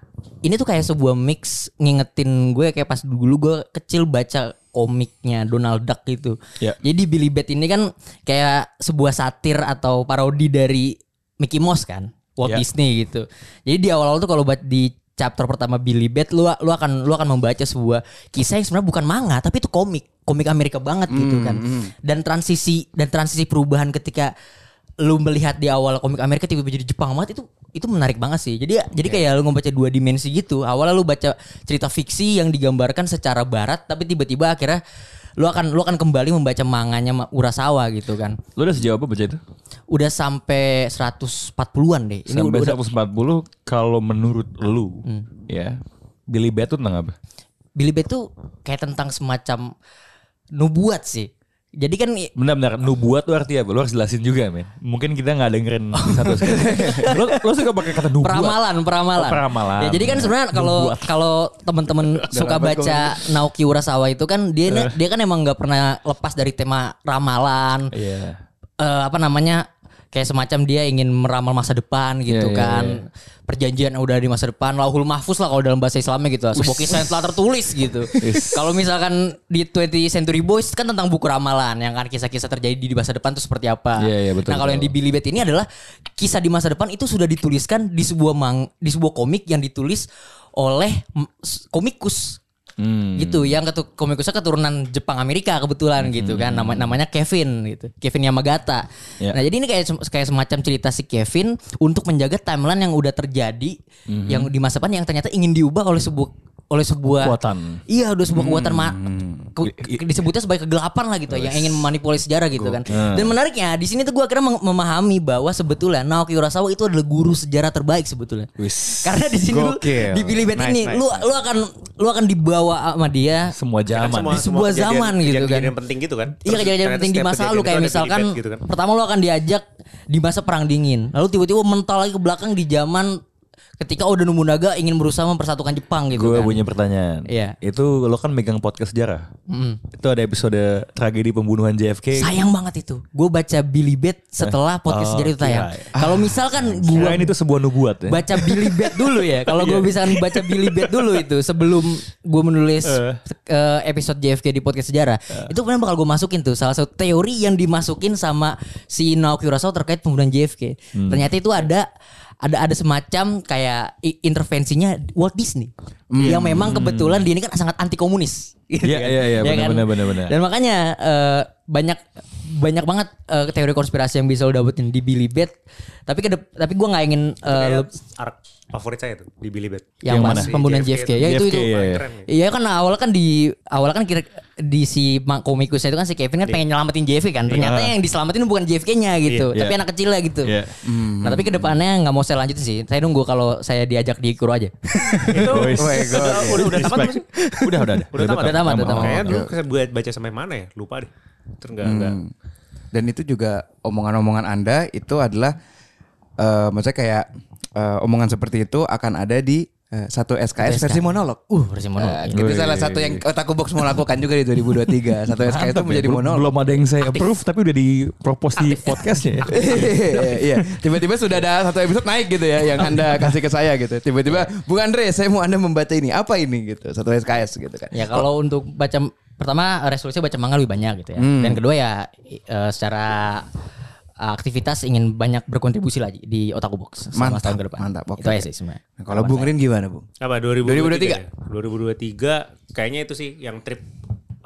Speaker 4: ini tuh kayak sebuah mix ngingetin gue kayak pas dulu gue kecil baca komiknya Donald Duck gitu.
Speaker 2: Ya.
Speaker 4: Jadi Billy Bat ini kan kayak sebuah satir atau parodi dari Mickey Mouse kan, Walt
Speaker 2: Ya.
Speaker 4: Disney gitu. Jadi di awal-awal tuh kalau buat di chapter pertama Billy Bat lu lu akan lu akan membaca sebuah kisah yang sebenarnya bukan manga tapi itu komik, komik Amerika banget gitu kan. Dan transisi dan transisi perubahan ketika lu melihat di awal komik Amerika tiba-tiba jadi Jepang banget itu itu menarik banget sih. Jadi jadi kayak lu ngebaca dua dimensi gitu. Awalnya lu baca cerita fiksi yang digambarkan secara barat tapi tiba-tiba akhirnya lu akan lu akan kembali membaca manganya Ma- Urasawa gitu kan.
Speaker 2: Lu udah sejauh apa baca itu?
Speaker 4: Udah sampai 140-an deh. Ini
Speaker 2: Sampai
Speaker 4: udah, udah
Speaker 2: 140 kalau menurut lu ya Billy Bat tuh tentang apa?
Speaker 4: Billy Bat tuh kayak tentang semacam nubuat sih. Jadi kan i-
Speaker 2: Benar-benar nubuat tuh artinya apa? Lu harus jelasin juga men. Mungkin kita nggak dengerin satu sekali. lu, lu suka pakai kata nubuat.
Speaker 4: Peramalan, peramalan.
Speaker 2: Oh, peramalan.
Speaker 4: Ya, jadi kan sebenarnya kalau
Speaker 2: Nubuat.
Speaker 4: kalau teman-teman suka baca Naoki Urasawa itu kan dia
Speaker 2: Eh.
Speaker 4: dia kan emang nggak pernah lepas dari tema ramalan,
Speaker 2: Iya.
Speaker 4: eh, apa namanya kayak semacam dia ingin meramal masa depan gitu
Speaker 2: Iya, iya,
Speaker 4: kan perjanjian yang udah di masa depan lauhul mahfuz lah kalau dalam bahasa Islamnya gitu lah. sebuah kisah yang telah tertulis gitu kalau misalkan di 20 Century Boys kan tentang buku ramalan yang kan kisah-kisah terjadi di masa depan itu seperti apa
Speaker 2: Iya, iya, betul,
Speaker 4: nah kalau yang di
Speaker 2: betul.
Speaker 4: Billy Bat ini adalah kisah di masa depan itu sudah dituliskan di sebuah mang di sebuah komik yang ditulis oleh m- s- komikus
Speaker 2: Hmm.
Speaker 4: gitu yang ketu- komikusnya keturunan Jepang Amerika kebetulan gitu kan nama namanya Kevin gitu Kevin Yamagata
Speaker 2: Hmm. Ya.
Speaker 4: nah jadi ini kayak sem- kayak semacam cerita si Kevin untuk menjaga timeline yang udah terjadi
Speaker 2: Hmm.
Speaker 4: yang di masa depan yang ternyata ingin diubah oleh sebuah oleh sebuah
Speaker 2: Kekuatan. Hmm.
Speaker 4: iya udah sebuah kekuatan ma- ke- ke- disebutnya sebagai kegelapan lah gitu yang ingin memanipulasi sejarah gitu kan dan menariknya di sini tuh gue akhirnya meng- memahami bahwa sebetulnya Naoki Urasawa itu adalah guru sejarah terbaik sebetulnya
Speaker 2: Wis.
Speaker 4: karena di sini lu
Speaker 3: Gokil.
Speaker 4: dipilih band
Speaker 3: Nice,
Speaker 4: ini
Speaker 3: nice,
Speaker 4: lu lu akan lu akan dibawa sama dia
Speaker 2: Semua zaman.
Speaker 4: Di sebuah zaman gitu kan.
Speaker 5: Yang penting gitu kan.
Speaker 4: Iya
Speaker 5: Terus
Speaker 4: kejadian
Speaker 5: ternyata
Speaker 4: penting di
Speaker 5: setiap
Speaker 4: masa
Speaker 5: kejadian itu
Speaker 4: lalu kayak
Speaker 5: ada
Speaker 4: misalkan
Speaker 5: Billy Bat gitu kan.
Speaker 4: pertama lu akan diajak di masa perang dingin lalu tiba-tiba mental lagi ke belakang di zaman ketika Oda Nobunaga ingin berusaha mempersatukan Jepang gitu
Speaker 2: Gue
Speaker 4: kan.
Speaker 2: punya pertanyaan.
Speaker 4: Iya.
Speaker 2: Itu lo kan megang podcast sejarah. Itu ada episode tragedi pembunuhan JFK.
Speaker 4: Sayang banget itu. Gue baca Billy Bat
Speaker 5: Eh,
Speaker 4: setelah podcast
Speaker 2: Oh,
Speaker 4: sejarah itu tayang.
Speaker 2: kirain.
Speaker 4: Kalau
Speaker 5: Ah,
Speaker 4: misalkan gua
Speaker 2: Kirain itu sebuah nubuat ya.
Speaker 4: baca Billy Bat dulu ya. Kalau
Speaker 2: Iya.
Speaker 4: gue bisa baca Billy Bat dulu itu sebelum gue menulis eh, episode JFK di podcast sejarah,
Speaker 2: Eh.
Speaker 4: itu kemudian bakal gue masukin tuh salah satu teori yang dimasukin sama si Naoki Urasawa terkait pembunuhan JFK.
Speaker 2: Hmm.
Speaker 4: Ternyata itu ada ada ada semacam kayak i- intervensinya Walt Disney yang memang kebetulan dia ini kan sangat anti komunis.
Speaker 2: Hmm. Iya, iya, iya, benar, benar, benar, benar.
Speaker 4: kan? Dan makanya eh, banyak banyak banget eh, teori konspirasi yang bisa lo dapetin di Billy Bat. Tapi kedep- tapi gue nggak ingin eh, Ya,
Speaker 5: Kayak
Speaker 4: lo-
Speaker 5: arc favorit saya tuh di Billy Bat.
Speaker 4: yang,
Speaker 2: Yang
Speaker 4: pas
Speaker 2: mana?
Speaker 4: pembunuhan JFK,
Speaker 5: JFK
Speaker 4: ya itu
Speaker 2: JFK,
Speaker 4: itu
Speaker 2: iya, iya.
Speaker 5: Keren ya.
Speaker 4: Iya kan awalnya kan di awalnya kan kira di si ma- komikusnya itu kan si Kevin kan pengen nyelamatin JFK kan. Ternyata yang diselamatin bukan JFK-nya gitu,
Speaker 2: Iya.
Speaker 4: tapi
Speaker 2: Iya.
Speaker 4: anak kecilnya gitu.
Speaker 2: Iya.
Speaker 4: Nah, tapi kedepannya nggak mau saya lanjutin sih. Saya nunggu kalau saya diajak di Kuro aja.
Speaker 5: Itu
Speaker 2: Boys.
Speaker 5: udah udah udah tamat belum sih?
Speaker 2: udah, udah, udah.
Speaker 5: Udah tamat,
Speaker 4: udah tamat, udah tamat.
Speaker 5: Kayaknya dulu gue baca sampai mana ya? Lupa deh. Terus enggak enggak.
Speaker 4: Hmm.
Speaker 3: Dan itu juga omongan-omongan Anda itu adalah eh maksudnya kayak eh, omongan seperti itu akan ada di eh, satu SKS versi monolog.
Speaker 4: uh, versi mono.
Speaker 3: Nah, itu salah satu yang Otaku Box mau lakukan juga di 2023. Satu SKS itu menjadi
Speaker 2: belum,
Speaker 3: monolog.
Speaker 2: belum ada yang saya approve tapi udah di propose di podcastnya ya.
Speaker 3: Iya, tiba-tiba sudah ada satu episode naik gitu ya yang Anda kasih ke saya gitu. Tiba-tiba, Bung Andre, saya mau Anda membaca ini. Apa ini gitu? Satu SKS gitu kan.
Speaker 4: Ya kalau untuk baca pertama resolusi baca manga lebih banyak gitu ya. Dan kedua ya i- eh, secara eh, aktivitas ingin banyak berkontribusi lagi di Otaku Box selama
Speaker 3: Mantap,
Speaker 4: tahun ke depan.
Speaker 3: mantap, oke.
Speaker 4: Itu aja sih sebenarnya.
Speaker 3: Nah, kalau Bung Rin gimana, Bung?
Speaker 5: Apa 2023?
Speaker 3: 2023?
Speaker 5: ya? 2023 kayaknya itu sih yang trip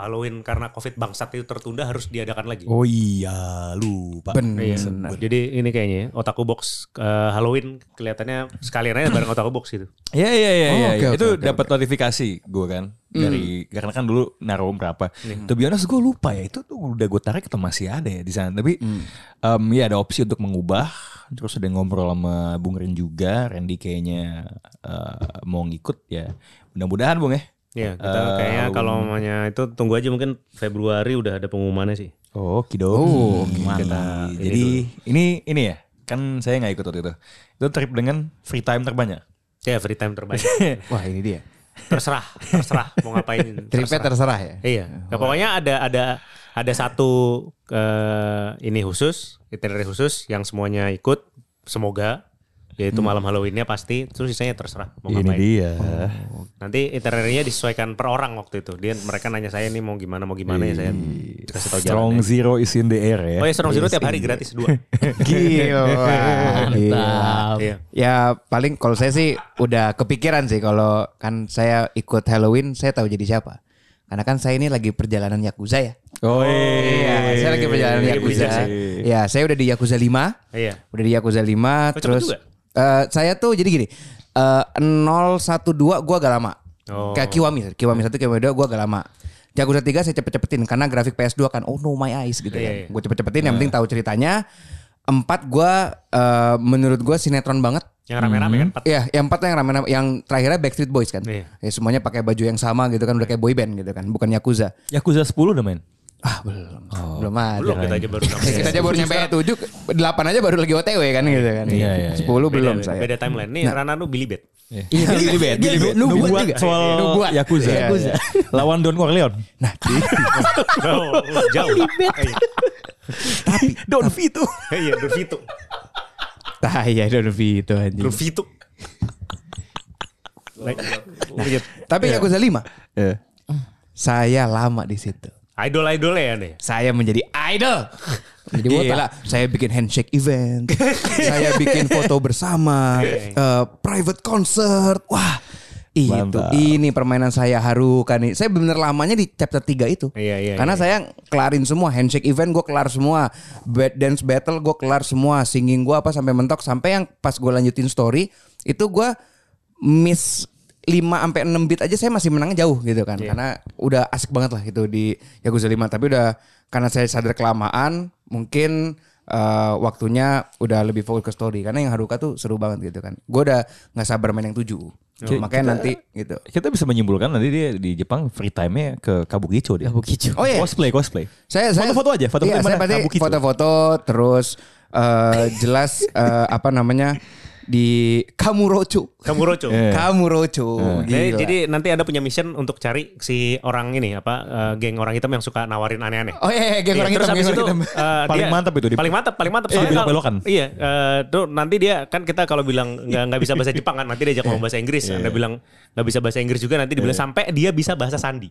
Speaker 5: Halloween karena Covid bangsat itu tertunda harus diadakan lagi.
Speaker 2: Oh iya, lupa.
Speaker 3: Benar.
Speaker 4: Hmm.
Speaker 5: Jadi ini kayaknya ya, Otaku Box eh, Halloween kelihatannya sekalian aja bareng Otaku Box gitu.
Speaker 2: Iya iya iya
Speaker 3: Oh,
Speaker 2: iya.
Speaker 3: oke,
Speaker 2: iya.
Speaker 3: oke,
Speaker 2: itu
Speaker 3: oke,
Speaker 2: dapat notifikasi gue kan dari karena kan dulu naruh berapa. To be honest gue lupa ya itu tuh udah gue tarik atau masih ada ya di sana. Tapi em, ya ada opsi untuk mengubah. Terus ada ngobrol sama Bung Ren juga. Randy kayaknya eh, mau ngikut ya. Mudah-mudahan Bung ya.
Speaker 5: Ya, kita
Speaker 4: Eh,
Speaker 5: kayaknya kalau maunya itu tunggu aja mungkin Februari udah ada pengumumannya sih.
Speaker 2: Oh, kido.
Speaker 5: mantap. Ini
Speaker 2: Jadi ini ini ya. Kan saya nggak ikut waktu itu. Itu trip dengan free time terbanyak.
Speaker 5: Ya, free time terbaik.
Speaker 3: Wah, ini dia.
Speaker 5: terserah, terserah mau ngapain.
Speaker 3: Tripnya terserah ya.
Speaker 5: Iya. Nah, pokoknya ada ada ada satu eh, ini khusus, itinerary khusus yang semuanya ikut semoga yaitu
Speaker 3: Hmm.
Speaker 5: malam Halloweennya pasti terus sisanya terserah mau ngapain.
Speaker 2: dia.
Speaker 5: Nanti itinerary-nya disesuaikan per orang waktu itu. Dia mereka nanya saya nih mau gimana mau gimana
Speaker 2: Iya,
Speaker 5: ya saya kasih tahu
Speaker 2: Strong
Speaker 5: jalannya.
Speaker 2: Zero is in the air ya.
Speaker 5: Oh ya Strong Zero tiap
Speaker 3: Iya.
Speaker 5: hari gratis dua.
Speaker 3: Gila.
Speaker 4: Mantap.
Speaker 5: Iya.
Speaker 3: Ya paling kalau saya sih udah kepikiran sih kalau kan saya ikut Halloween saya tahu jadi siapa. Karena kan saya ini lagi perjalanan Yakuza ya.
Speaker 2: Oh,
Speaker 3: Iya, saya lagi perjalanan
Speaker 5: Jadi
Speaker 3: Yakuza.
Speaker 5: bijak
Speaker 3: Ya, saya udah di Yakuza 5.
Speaker 5: Iya. Oh,
Speaker 3: Udah di Yakuza 5
Speaker 5: cepet
Speaker 3: terus
Speaker 5: juga?
Speaker 3: eh, saya tuh jadi gini, eh, 012 gua agak lama.
Speaker 5: Oh.
Speaker 3: Kayak Kiwami, Kiwami 1, Kiwami 2 gua agak lama. Yakuza 3 saya cepet-cepetin karena grafik PS2 kan oh no my eyes gitu
Speaker 5: Iya, iya.
Speaker 3: ya. Gue cepet-cepetin yang penting tahu ceritanya. Empat gue eh, menurut gue sinetron banget.
Speaker 5: Yang rame-rame kan empat.
Speaker 3: Iya, yang empat tuh yang rame yang terakhirnya Backstreet Boys kan.
Speaker 5: Iya.
Speaker 3: Ya, semuanya pakai baju yang sama gitu kan udah kayak boy band gitu kan, bukan Yakuza.
Speaker 2: Yakuza 10 udah main.
Speaker 3: Ah, belum. belum ada.
Speaker 5: Oh. Belum kita aja baru
Speaker 3: Ya, kita aja baru nyampe 7, 8 aja baru lagi OTW kan gitu kan.
Speaker 2: Iya, iya,
Speaker 3: 10 belum
Speaker 5: beda,
Speaker 3: saya. Nah.
Speaker 5: Beda timeline. Nih Rana lu Billy Bat.
Speaker 3: Iya, Billy Bat, Billy Bat. Lu buat
Speaker 2: Nubuat
Speaker 3: tiga.
Speaker 2: soal
Speaker 3: Iya, nubuat.
Speaker 2: Yakuza.
Speaker 3: Iya, Yakuza.
Speaker 2: Lawan Don Corleone.
Speaker 3: Nah, tapi
Speaker 5: Oh, jauh. Iya,
Speaker 2: Don Vito.
Speaker 5: Iya, Durvito.
Speaker 3: Tah ya Donovi itu anjing.
Speaker 5: Durvito. Like, lanjut.
Speaker 3: Tapi Yakuza 5.
Speaker 2: Iya.
Speaker 3: Saya lama di situ.
Speaker 5: Idol-idolnya ya nih.
Speaker 3: Saya menjadi idol.
Speaker 4: Jadi
Speaker 3: Gila, saya bikin handshake event, saya bikin foto bersama, eh, private concert. Wah, itu
Speaker 2: Mantap.
Speaker 3: ini permainan saya harukan nih. Saya bener lamanya di chapter 3 itu.
Speaker 5: Iya, iya,
Speaker 3: Karena
Speaker 5: iya.
Speaker 3: saya kelarin semua handshake event gue kelar semua, Bad dance battle gue kelar semua, singing gue apa sampai mentok sampai yang pas gue lanjutin story itu gue miss 5 sampai 6 beat aja saya masih menangnya jauh gitu kan. Karena udah asik banget lah gitu di Yakuza 5 tapi udah karena saya sadar kelamaan mungkin eh, waktunya udah lebih fokus ke story karena yang Haruka tuh seru banget gitu kan. Gue udah nggak sabar main yang 7. Makanya nanti gitu.
Speaker 2: Kita bisa menyimpulkan nanti dia di Jepang free time-nya ke Kabukicho dia.
Speaker 4: Kabukicho.
Speaker 3: Oh, iya.
Speaker 2: Cosplay, cosplay.
Speaker 3: Saya saya-
Speaker 2: Foto-foto aja, foto-foto
Speaker 3: Iya,
Speaker 2: di
Speaker 3: saya
Speaker 2: mana?
Speaker 3: pasti
Speaker 2: Kabukicho.
Speaker 3: foto-foto terus eh, jelas eh, apa namanya di Kamurocho.
Speaker 5: Kamu Roco.
Speaker 2: Eh.
Speaker 3: Iya. Kamurocho.
Speaker 5: Jadi,
Speaker 3: Gila.
Speaker 5: jadi nanti ada punya mission untuk cari si orang ini apa eh, geng orang hitam yang suka nawarin aneh-aneh.
Speaker 3: Oh iya, iya, geng
Speaker 5: Iya,
Speaker 3: orang
Speaker 5: terus
Speaker 3: hitam,
Speaker 5: habis
Speaker 3: geng
Speaker 5: itu,
Speaker 3: orang hitam.
Speaker 5: eh,
Speaker 2: Paling
Speaker 5: dia-
Speaker 2: mantap itu di-
Speaker 5: Paling mantap, paling mantap.
Speaker 2: Iya,
Speaker 5: Soalnya kalau-
Speaker 2: belok-belokan.
Speaker 5: Iya, eh, tuh nanti dia kan kita kalau bilang nggak nggak bisa bahasa Jepang kan, nanti diajak ngomong bahasa Inggris.
Speaker 3: Iya.
Speaker 5: Anda bilang nggak bisa bahasa Inggris juga, nanti dibilang sampai dia bisa bahasa sandi.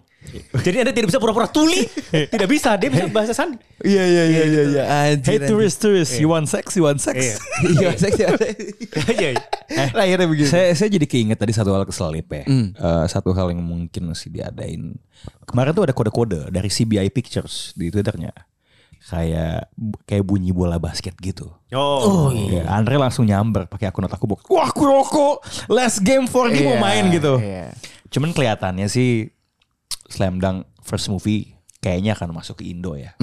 Speaker 5: Jadi Anda tidak bisa pura-pura tuli, tidak bisa, dia bisa bahasa sandi.
Speaker 3: Iya iya iya iya
Speaker 2: Gitu.
Speaker 3: iya.
Speaker 2: Hey tourist, tourist, you want sex, you want
Speaker 5: Iya.
Speaker 2: sex.
Speaker 3: Iya, saya kira.
Speaker 5: Iya, iya.
Speaker 2: Eh.
Speaker 3: Lahirnya begitu.
Speaker 2: Saya saya jadi keinget tadi satu hal keselip ya.
Speaker 3: Hmm.
Speaker 2: Eh, satu hal yang mungkin mesti diadain. Kemarin tuh ada kode-kode dari CBI Pictures di Twitternya. Kayak kayak bunyi bola basket gitu.
Speaker 5: Oh,
Speaker 2: Ya,
Speaker 3: iya.
Speaker 2: Andre langsung nyamber pakai akun otaku box. Wah, Kuroko, last game for game mau
Speaker 3: Iya,
Speaker 2: main gitu.
Speaker 3: iya.
Speaker 2: Cuman kelihatannya sih Slam Dunk first movie kayaknya akan masuk ke Indo
Speaker 3: Hmm,
Speaker 2: ya.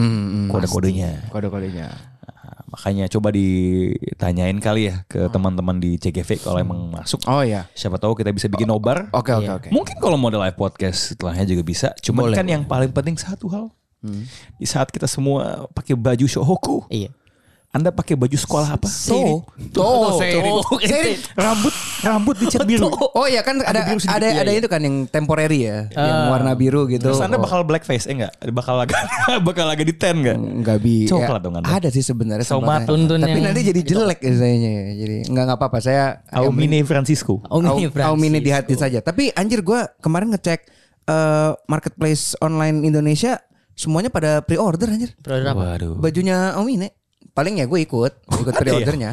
Speaker 2: Kode-kodenya.
Speaker 3: Kode-kodenya.
Speaker 2: Nah, makanya coba ditanyain kali ya ke teman-teman di CGV kalau emang masuk.
Speaker 3: Hmm. Oh iya.
Speaker 2: Siapa tahu kita bisa bikin nobar.
Speaker 3: Oke oke oke.
Speaker 2: Mungkin kalau model live podcast setelahnya juga bisa. Cuman kan yang paling penting satu hal.
Speaker 3: Hmm.
Speaker 2: Di saat kita semua pakai baju Shohoku,
Speaker 4: Iya.
Speaker 2: Anda pakai baju sekolah apa?
Speaker 3: Tuh,
Speaker 2: Oh,
Speaker 3: tuh, Seirin.
Speaker 4: Tuh.
Speaker 3: Seirin.
Speaker 2: Rambut rambut dicat biru.
Speaker 3: Oh iya kan ada
Speaker 2: biru sedikit,
Speaker 3: ada
Speaker 2: iya,
Speaker 3: ada
Speaker 2: iya. Ah.
Speaker 3: itu kan yang temporary ya, yang warna biru gitu.
Speaker 2: Terus Anda
Speaker 3: Oh.
Speaker 2: bakal blackface eh enggak? Bakal agak bakal agak di tan enggak?
Speaker 3: Enggak bi ya,
Speaker 2: Coklat dong Anda.
Speaker 3: Ada sih sebenarnya
Speaker 2: Tomat.
Speaker 3: sebenarnya.
Speaker 4: Tuntun
Speaker 3: Tapi
Speaker 4: yang-
Speaker 3: nanti jadi jelek ya sayangnya ya. Jadi enggak enggak apa-apa saya
Speaker 2: Aumine Francisco.
Speaker 4: Oh,
Speaker 3: Au-
Speaker 4: ini Francis.
Speaker 3: Aumini di hati saja. Tapi anjir gua kemarin ngecek eh, marketplace online Indonesia semuanya pada pre-order anjir.
Speaker 4: Produk apa?
Speaker 2: Waduh.
Speaker 3: Bajunya Aumine. Paling ya gue ikut, ikut pre-ordernya.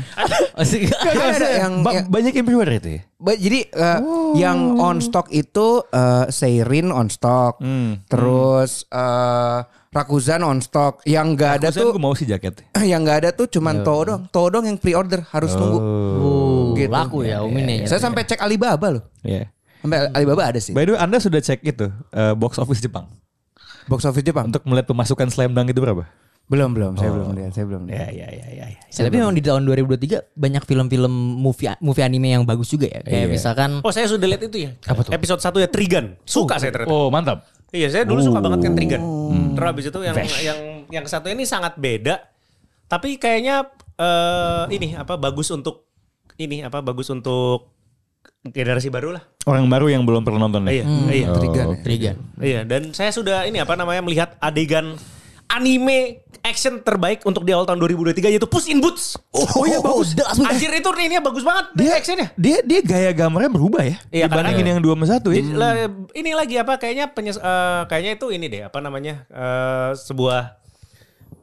Speaker 4: Oh, sih.
Speaker 3: Ada, ada Eh, yang,
Speaker 2: Ba-
Speaker 3: yang-
Speaker 2: banyak yang pre-order itu ya?
Speaker 3: ba- jadi eh, yang on stock itu eh, Seirin on stock. Terus eh, Rakuzan on stock. Yang enggak ada
Speaker 2: Ada
Speaker 3: tuh
Speaker 2: tuh gue mau sih jaket.
Speaker 3: yang nggak ada tuh cuman Toho doang. Toho doang yang pre-order harus nunggu.
Speaker 4: Oh,
Speaker 3: Gitu.
Speaker 4: Laku ya Umine.
Speaker 3: Saya sampai cek Alibaba loh.
Speaker 2: Iya.
Speaker 3: Sampai Alibaba ada sih.
Speaker 2: By the way, Anda sudah cek itu eh, box office Jepang
Speaker 3: Box office Jepang. Oh.
Speaker 2: untuk melihat pemasukan Slam Dunk itu berapa?
Speaker 3: Belum, belum. Saya belum lihat, saya belum lihat.
Speaker 2: ya ya ya. ya.
Speaker 4: Ya, tapi memang di tahun 2023 banyak film-film movie movie anime yang bagus juga ya.
Speaker 2: Iya.
Speaker 4: Kayak misalkan
Speaker 5: oh saya sudah lihat itu ya. Episode 1 ya Trigan. Suka saya ternyata.
Speaker 2: Oh, Hmm. mantap.
Speaker 5: Iya, saya dulu suka banget kan Trigan. Terus habis itu yang yang yang satu ini sangat beda. Tapi kayaknya eh ini apa bagus untuk ini apa bagus untuk generasi baru lah.
Speaker 2: Orang baru yang belum pernah nonton ya.
Speaker 5: Iya, iya.
Speaker 3: Trigan ya.
Speaker 4: Trigan.
Speaker 5: Iya, dan saya sudah ini apa namanya melihat adegan anime action terbaik untuk di awal tahun 2023 yaitu Puss in Boots.
Speaker 2: Oh, iya bagus.
Speaker 5: Anjir itu ini bagus banget
Speaker 2: Dia
Speaker 5: actionnya.
Speaker 2: dia dia gaya gambarnya berubah ya.
Speaker 5: Iya,
Speaker 2: Dibandingin
Speaker 5: kadang-
Speaker 2: yang dua sama satu ya.
Speaker 5: Jadi, lah, ini lagi apa kayaknya penyes, eh, kayaknya itu ini deh apa namanya eh, sebuah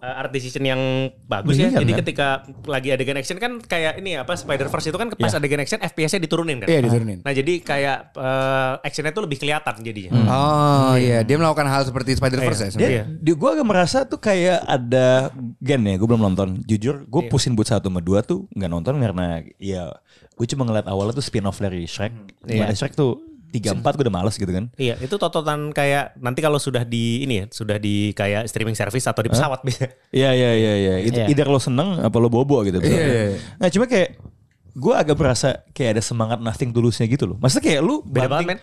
Speaker 5: eh, art decision yang bagus ya.
Speaker 2: Brilliant,
Speaker 5: Jadi
Speaker 2: kan?
Speaker 5: ketika lagi adegan action kan kayak ini apa Spider Verse itu kan pas
Speaker 2: Iya.
Speaker 5: adegan action FPS-nya diturunin kan.
Speaker 3: Iya, diturunin.
Speaker 5: Nah jadi kayak eh, actionnya tuh lebih kelihatan jadinya.
Speaker 2: Hmm.
Speaker 3: Oh iya, dia melakukan hal seperti Spider-Verse ya.
Speaker 5: Iya.
Speaker 2: Dia,
Speaker 3: sebenarnya.
Speaker 2: di gue agak merasa tuh kayak ada gen ya. Gue belum nonton. Jujur, gue
Speaker 5: Iya.
Speaker 2: pusin buat satu sama dua
Speaker 5: Hmm,
Speaker 2: tuh nggak nonton karena ya gue cuma ngeliat awalnya tuh spin off dari Shrek. Gimana Shrek tuh tiga empat gue udah males gitu kan.
Speaker 5: Iya, itu tototan kayak nanti kalau sudah di ini ya, sudah di kayak streaming service atau di pesawat bisa.
Speaker 2: Iya iya iya iya. Itu
Speaker 4: Iya.
Speaker 2: either lo seneng apa lo bobo gitu.
Speaker 3: Iya, iya, iya.
Speaker 2: Nah cuma kayak gue agak berasa kayak ada semangat nothing tulusnya gitu loh. Maksudnya kayak lu
Speaker 5: Beda banget, men.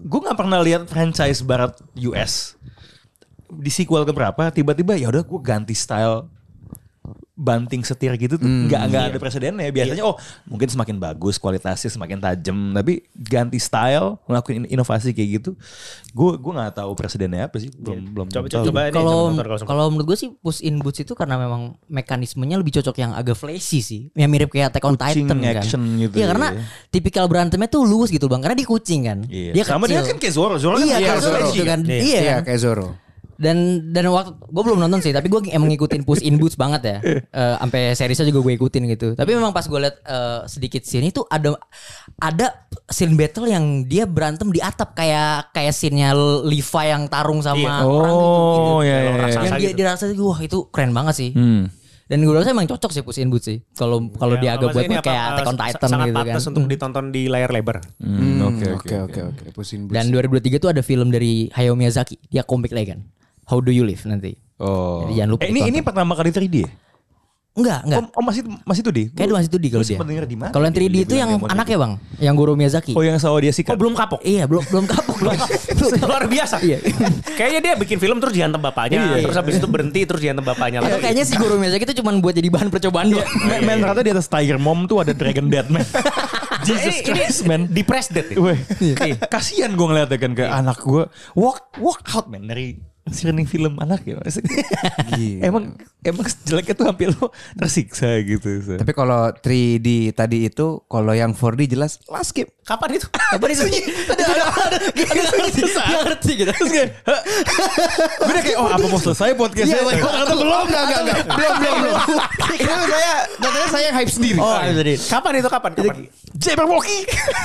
Speaker 2: Gue nggak pernah lihat franchise barat US di sequel keberapa tiba-tiba ya udah gue ganti style banting setir gitu tuh
Speaker 4: Hmm,
Speaker 2: nggak nggak
Speaker 4: iya.
Speaker 2: ada presidennya biasanya oh mungkin semakin bagus kualitasnya semakin tajam tapi ganti style ngelakuin in- inovasi kayak gitu gue gue nggak tahu presidennya apa sih belum
Speaker 4: Iya.
Speaker 2: belum
Speaker 5: Coba
Speaker 2: tahu.
Speaker 5: coba, coba ini
Speaker 4: Kalau
Speaker 5: coba motor kalau sempat.
Speaker 4: kalau menurut gue sih push in boots itu karena memang mekanismenya lebih cocok yang agak flashy sih, yang mirip kayak Attack on
Speaker 2: Kucing
Speaker 4: Titan kan.
Speaker 2: action gitu
Speaker 4: Iya karena
Speaker 2: ya.
Speaker 4: tipikal berantemnya tuh luwes gitu bang, karena dia kucing kan.
Speaker 2: Iya.
Speaker 4: Dia
Speaker 2: Sama dia
Speaker 4: kecil.
Speaker 2: kan kayak Zoro. Zoro kan
Speaker 4: iya,
Speaker 2: kayak
Speaker 4: kan Zoro
Speaker 2: flashy
Speaker 4: gitu kan.
Speaker 2: kan?
Speaker 4: Iya.
Speaker 3: Iya
Speaker 4: kan?
Speaker 3: kayak Zoro.
Speaker 4: Dan dan waktu gue belum nonton sih, tapi gue emang ngikutin push in boots banget ya. Eh, Sampai seriesnya juga gue ikutin gitu. Tapi memang pas gue liat eh, sedikit scene itu ada ada scene battle yang dia berantem di atap kayak kayak scene-nya Levi yang tarung sama
Speaker 5: Iya.
Speaker 4: orang gitu.
Speaker 2: Oh iya iya.
Speaker 5: Raksasa
Speaker 4: Yang dia
Speaker 5: gitu.
Speaker 4: dirasa wah itu keren banget sih.
Speaker 2: Hmm.
Speaker 4: Dan gue rasa emang cocok sih push in boots sih. Kalau
Speaker 5: Ya,
Speaker 4: kalau dia agak
Speaker 5: maksudnya ini
Speaker 4: buat kayak
Speaker 5: apa,
Speaker 4: Attack on
Speaker 5: eh, sa-
Speaker 4: Titan
Speaker 5: sangat
Speaker 4: gitu kan.
Speaker 5: pantas untuk ditonton di layar lebar.
Speaker 2: Hmm, Oke
Speaker 3: Oke
Speaker 2: oke.
Speaker 3: oke oke. Pusin
Speaker 4: Dan 2023 tuh ada film dari Hayao Miyazaki, dia komik lagi kan. How do you live nanti?
Speaker 2: Oh.
Speaker 4: Jadi jangan lupa
Speaker 2: Eh, ini ini pertama kali 3D ya?
Speaker 4: Enggak, enggak.
Speaker 2: Oh, oh, masih masih tuh di.
Speaker 4: Kayaknya masih itu di kalau dia.
Speaker 2: Sempat denger di mana?
Speaker 4: Kalau yang 3D itu yang anak ya bang, yang Goro Miyazaki.
Speaker 2: Oh yang sawah dia sikat.
Speaker 5: Oh belum kapok.
Speaker 4: Iya belum belum kapok belum. belum-
Speaker 5: Luar biasa.
Speaker 4: Iya.
Speaker 5: Kayaknya dia bikin film terus dihantam bapaknya, terus habis itu berhenti terus dihantam bapaknya
Speaker 4: Atau
Speaker 5: lagi.
Speaker 4: Iya, kayaknya si Goro Miyazaki itu cuma buat jadi bahan percobaan doang.
Speaker 2: Men,
Speaker 5: Iya.
Speaker 2: men ternyata di atas Tiger Mom tuh ada Dragon Dead man. Jesus Christ man.
Speaker 5: Di press dead. ya? Iya. nih.
Speaker 2: Weh, ka- kasihan gue ngeliatnya kan ke anak gue walk walk out man dari screening film anak ya maksudnya.
Speaker 5: Iya.
Speaker 2: emang emang jeleknya tuh hampir lo tersiksa gitu. so.
Speaker 3: Tapi kalau 3D tadi itu kalau yang 4D jelas last skip.
Speaker 5: Kapan itu?
Speaker 4: Apa nih sunyi? Ada ada ada. Gak ngerti. Gak ngerti gitu.
Speaker 2: Gue udah kayak oh apa mau selesai podcastnya?
Speaker 4: Iya,
Speaker 2: Kok kata belum enggak enggak enggak.
Speaker 3: belum belum belum. Itu saya katanya saya hype sendiri.
Speaker 4: Oh jadi.
Speaker 2: iya.
Speaker 5: Kapan itu kapan? Kapan?
Speaker 2: Jabberwocky.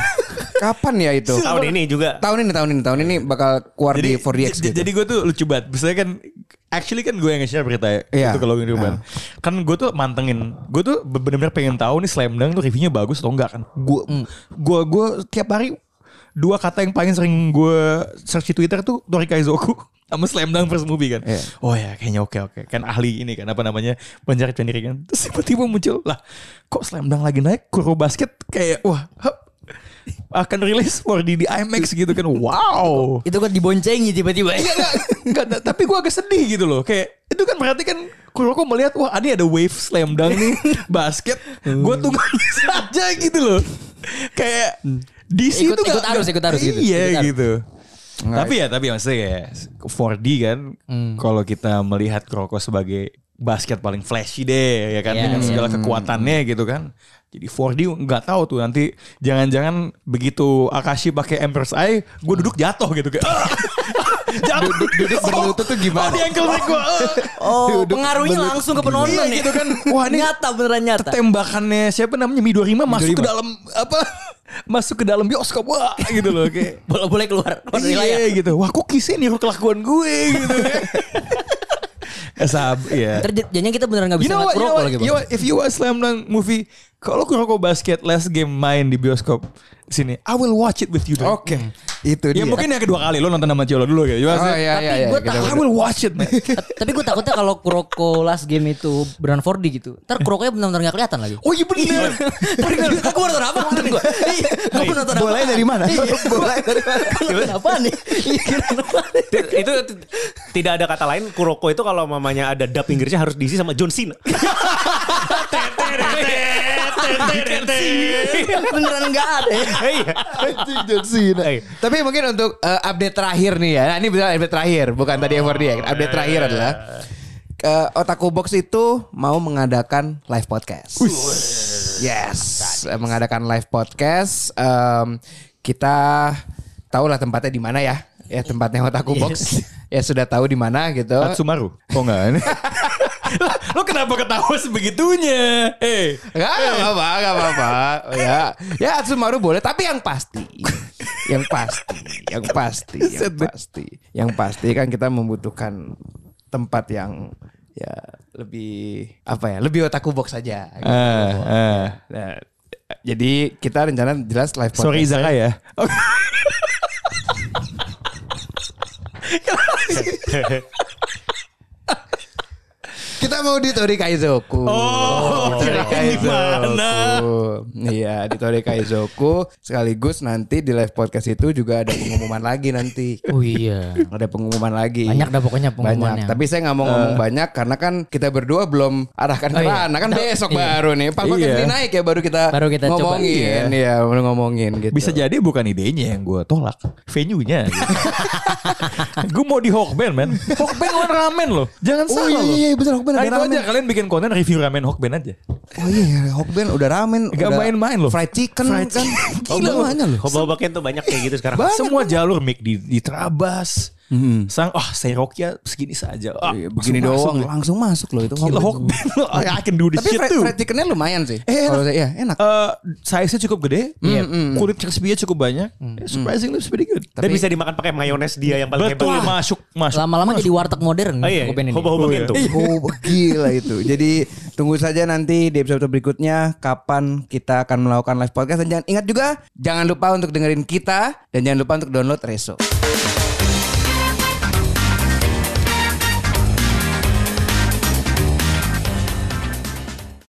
Speaker 3: Kapan ya itu?
Speaker 5: Tahun ini juga.
Speaker 3: Tahun ini tahun ini tahun ini bakal keluar di 4DX
Speaker 2: j-
Speaker 3: gitu.
Speaker 2: Jadi gue tuh lucu banget. Biasanya kan actually kan gue yang nge-share berita ya.
Speaker 3: Iya.
Speaker 2: Itu kalau di rumah. Kan gue tuh mantengin. Gue tuh bener-bener pengen tahu nih Slam Dunk tuh reviewnya bagus atau enggak kan. Gue
Speaker 3: Hmm.
Speaker 2: gue gue tiap hari dua kata yang paling sering gue search di Twitter tuh Tori Kaizoku sama Slam Dunk versus movie kan.
Speaker 3: Iya.
Speaker 2: Oh ya kayaknya oke oke. Kan ahli ini kan apa namanya pencari pendiri kan. Terus tiba-tiba muncul lah kok Slam Dunk lagi naik kurva basket kayak wah hup, akan rilis 4D di IMAX gitu kan. Wow.
Speaker 4: Itu kan diboncengi tiba-tiba.
Speaker 2: Iya enggak, enggak, enggak, tapi gue agak sedih gitu loh. Kayak itu kan berarti kan Kuroko melihat wah ini ada wave slam dunk nih basket. Gue tunggu saja gitu loh. Kayak di situ
Speaker 4: Hmm. Ikut- ikut arus, ikut arus gitu. Ikut
Speaker 2: Iya
Speaker 4: arus.
Speaker 2: gitu.
Speaker 3: Nggak,
Speaker 2: tapi ya tapi maksudnya kayak 4D kan
Speaker 3: Hmm.
Speaker 2: kalau kita melihat Kuroko sebagai basket paling flashy deh ya kan
Speaker 4: Iya,
Speaker 2: dengan
Speaker 4: iya.
Speaker 2: segala kekuatannya gitu kan. Jadi 4D nggak tahu tuh nanti jangan-jangan begitu Akashi pakai Emperor's Eye, gue duduk jatuh gitu kayak. "Ah!" jatuh.
Speaker 3: duduk berlutut tuh gimana?
Speaker 2: Oh, di ankle break eh. gue.
Speaker 4: Oh
Speaker 3: Duduk
Speaker 4: pengaruhnya
Speaker 3: belut-
Speaker 4: langsung ke penonton
Speaker 2: Iya,
Speaker 4: ya.
Speaker 2: gitu kan. Wah, ini-
Speaker 4: nyata beneran nyata.
Speaker 2: Tembakannya siapa namanya Midorima masuk ke dalam apa? Masuk ke dalam bioskop wah gitu loh kayak.
Speaker 4: Boleh boleh keluar. keluar dari layar.
Speaker 2: Iya gitu. Wah, kok kisah niru kelakuan gue gitu. Eh, Sab, ya.
Speaker 4: Ntar jadinya kita beneran gak
Speaker 2: You
Speaker 4: bisa
Speaker 2: know
Speaker 4: ngeliat
Speaker 2: what, you know
Speaker 4: Kuroko
Speaker 2: what,
Speaker 4: lagi
Speaker 2: you know
Speaker 4: bang.
Speaker 2: what, if you watch Slam Dunk movie, kalau Kuroko Basket last game main di bioskop sini, I will watch it with you. Dok.
Speaker 3: Oke, itu
Speaker 2: Ya
Speaker 3: dia.
Speaker 2: mungkin yang kedua kali lo nonton sama Ciolo dulu gitu.
Speaker 3: Oh
Speaker 2: Oh,
Speaker 3: iya iya iya.
Speaker 4: Tapi gua
Speaker 3: kita
Speaker 2: I
Speaker 4: tahu.
Speaker 3: berdua.
Speaker 2: will watch it, man.
Speaker 4: Tapi gue takutnya kalau Kuroko last game itu beneran 4D gitu. Ntar Kurokonya benar-benar gak kelihatan lagi.
Speaker 2: Oh iya bener.
Speaker 4: Tadi gue aku baru nonton apa kemarin gue? Iya, gue baru nonton apa? Iya.
Speaker 3: Bolanya dari mana? Bolanya dari mana?
Speaker 4: Gua nonton apa nih? Iya, gua nonton apa nih?
Speaker 5: Ti- itu t- tidak ada kata lain Kuroko itu kalau mamanya ada dub Inggrisnya harus diisi sama John Cena.
Speaker 4: Beneran gak ada. ya?
Speaker 5: Iya.
Speaker 3: Anjing, John
Speaker 2: nah.
Speaker 3: Cena.
Speaker 5: Hey.
Speaker 3: Tapi mungkin untuk eh, update terakhir nih ya. Nah, ini benar update terakhir, bukan tadi yang 4D ya. Update terakhir adalah eh, Otaku Box itu mau mengadakan live podcast. Yes, eh, mengadakan live podcast. Em, kita tahulah tempatnya di mana ya. Ya tempatnya Otaku Box. Ya sudah tahu di mana gitu.
Speaker 2: Tatsumaru. Oh enggak. Lah, lo kenapa ketawa sebegitunya? Eh,
Speaker 3: Gak apa-apa, gak apa-apa. Ya, ya Atsumaru boleh, tapi yang pasti. Yang pasti, yang pasti, yang pasti. Yang pasti kan kita membutuhkan tempat yang ya lebih apa ya, lebih otaku box saja. gitu.
Speaker 2: Eh, eh.
Speaker 3: Nah, jadi kita rencana jelas live
Speaker 2: sorry
Speaker 3: podcast.
Speaker 2: Zara ya.
Speaker 3: Kita mau di Tori Kaizoku.
Speaker 2: Oh,
Speaker 3: Di Tori
Speaker 2: kirain di mana?
Speaker 3: Iya, di Tori Kaizoku sekaligus nanti di live podcast itu juga ada pengumuman lagi nanti.
Speaker 4: Oh iya.
Speaker 3: Ada pengumuman lagi.
Speaker 4: Banyak dah pokoknya pengumumannya.
Speaker 3: Banyak, tapi saya nggak mau ngomong banyak karena kan kita berdua belum arahkan ke
Speaker 4: Oh, iya.
Speaker 3: sana. Kan besok
Speaker 4: Iya.
Speaker 3: baru nih. Pak
Speaker 2: Iya.
Speaker 3: ini naik ya baru kita,
Speaker 4: Baru kita coba.
Speaker 3: ngomongin. Iya, baru ngomongin gitu.
Speaker 2: Bisa jadi bukan idenya yang gue tolak, venue-nya. Gitu. gue mau di Hokben, men. Hokben lawan ramen loh. Jangan
Speaker 3: Oh,
Speaker 2: salah
Speaker 3: iya,
Speaker 2: loh.
Speaker 3: iya, bener, Hokben
Speaker 2: Nah,
Speaker 3: ada
Speaker 2: itu
Speaker 3: ramen.
Speaker 2: aja kalian bikin konten review ramen Hokben aja.
Speaker 3: Oh iya, Hokben udah ramen,
Speaker 2: Gak
Speaker 3: udah
Speaker 2: main-main loh.
Speaker 3: Fried chicken
Speaker 2: Fried
Speaker 3: kan.
Speaker 2: chicken.
Speaker 3: Oh,
Speaker 2: Gila.
Speaker 3: banyak loh.
Speaker 5: Hobak-hobakin tuh banyak kayak gitu sekarang.
Speaker 3: Banyak
Speaker 2: Semua jalur mic di, di terabas. Sang, wah Serokia segini saja. Ah,
Speaker 3: Iya,
Speaker 2: langsung
Speaker 3: begini doang
Speaker 2: masuk loh.
Speaker 3: langsung masuk loh itu.
Speaker 2: Gila
Speaker 3: Hokben.
Speaker 2: Hokben. loh. I can do this
Speaker 3: Tapi
Speaker 2: shit
Speaker 3: fried,
Speaker 2: too.
Speaker 3: fried chickennya lumayan sih.
Speaker 2: Eh,
Speaker 3: Kalau saya, ya enak.
Speaker 2: Eh, size-nya cukup gede,
Speaker 3: Iya.
Speaker 2: kulit crispy-nya cukup banyak. Eh, surprisingly it's pretty good.
Speaker 5: Dan bisa dimakan pakai mayones dia yang paling
Speaker 2: Betul
Speaker 5: hebat.
Speaker 2: masuk masuk.
Speaker 4: Lama-lama jadi warteg modern.
Speaker 5: Oh iya,
Speaker 4: Hokben ini.
Speaker 5: hobak-hobakin tuh.
Speaker 3: Oh gila itu. Jadi tunggu saja nanti di episode berikutnya kapan kita akan melakukan live podcast dan jangan ingat juga jangan lupa untuk dengerin kita dan jangan lupa untuk download Reso.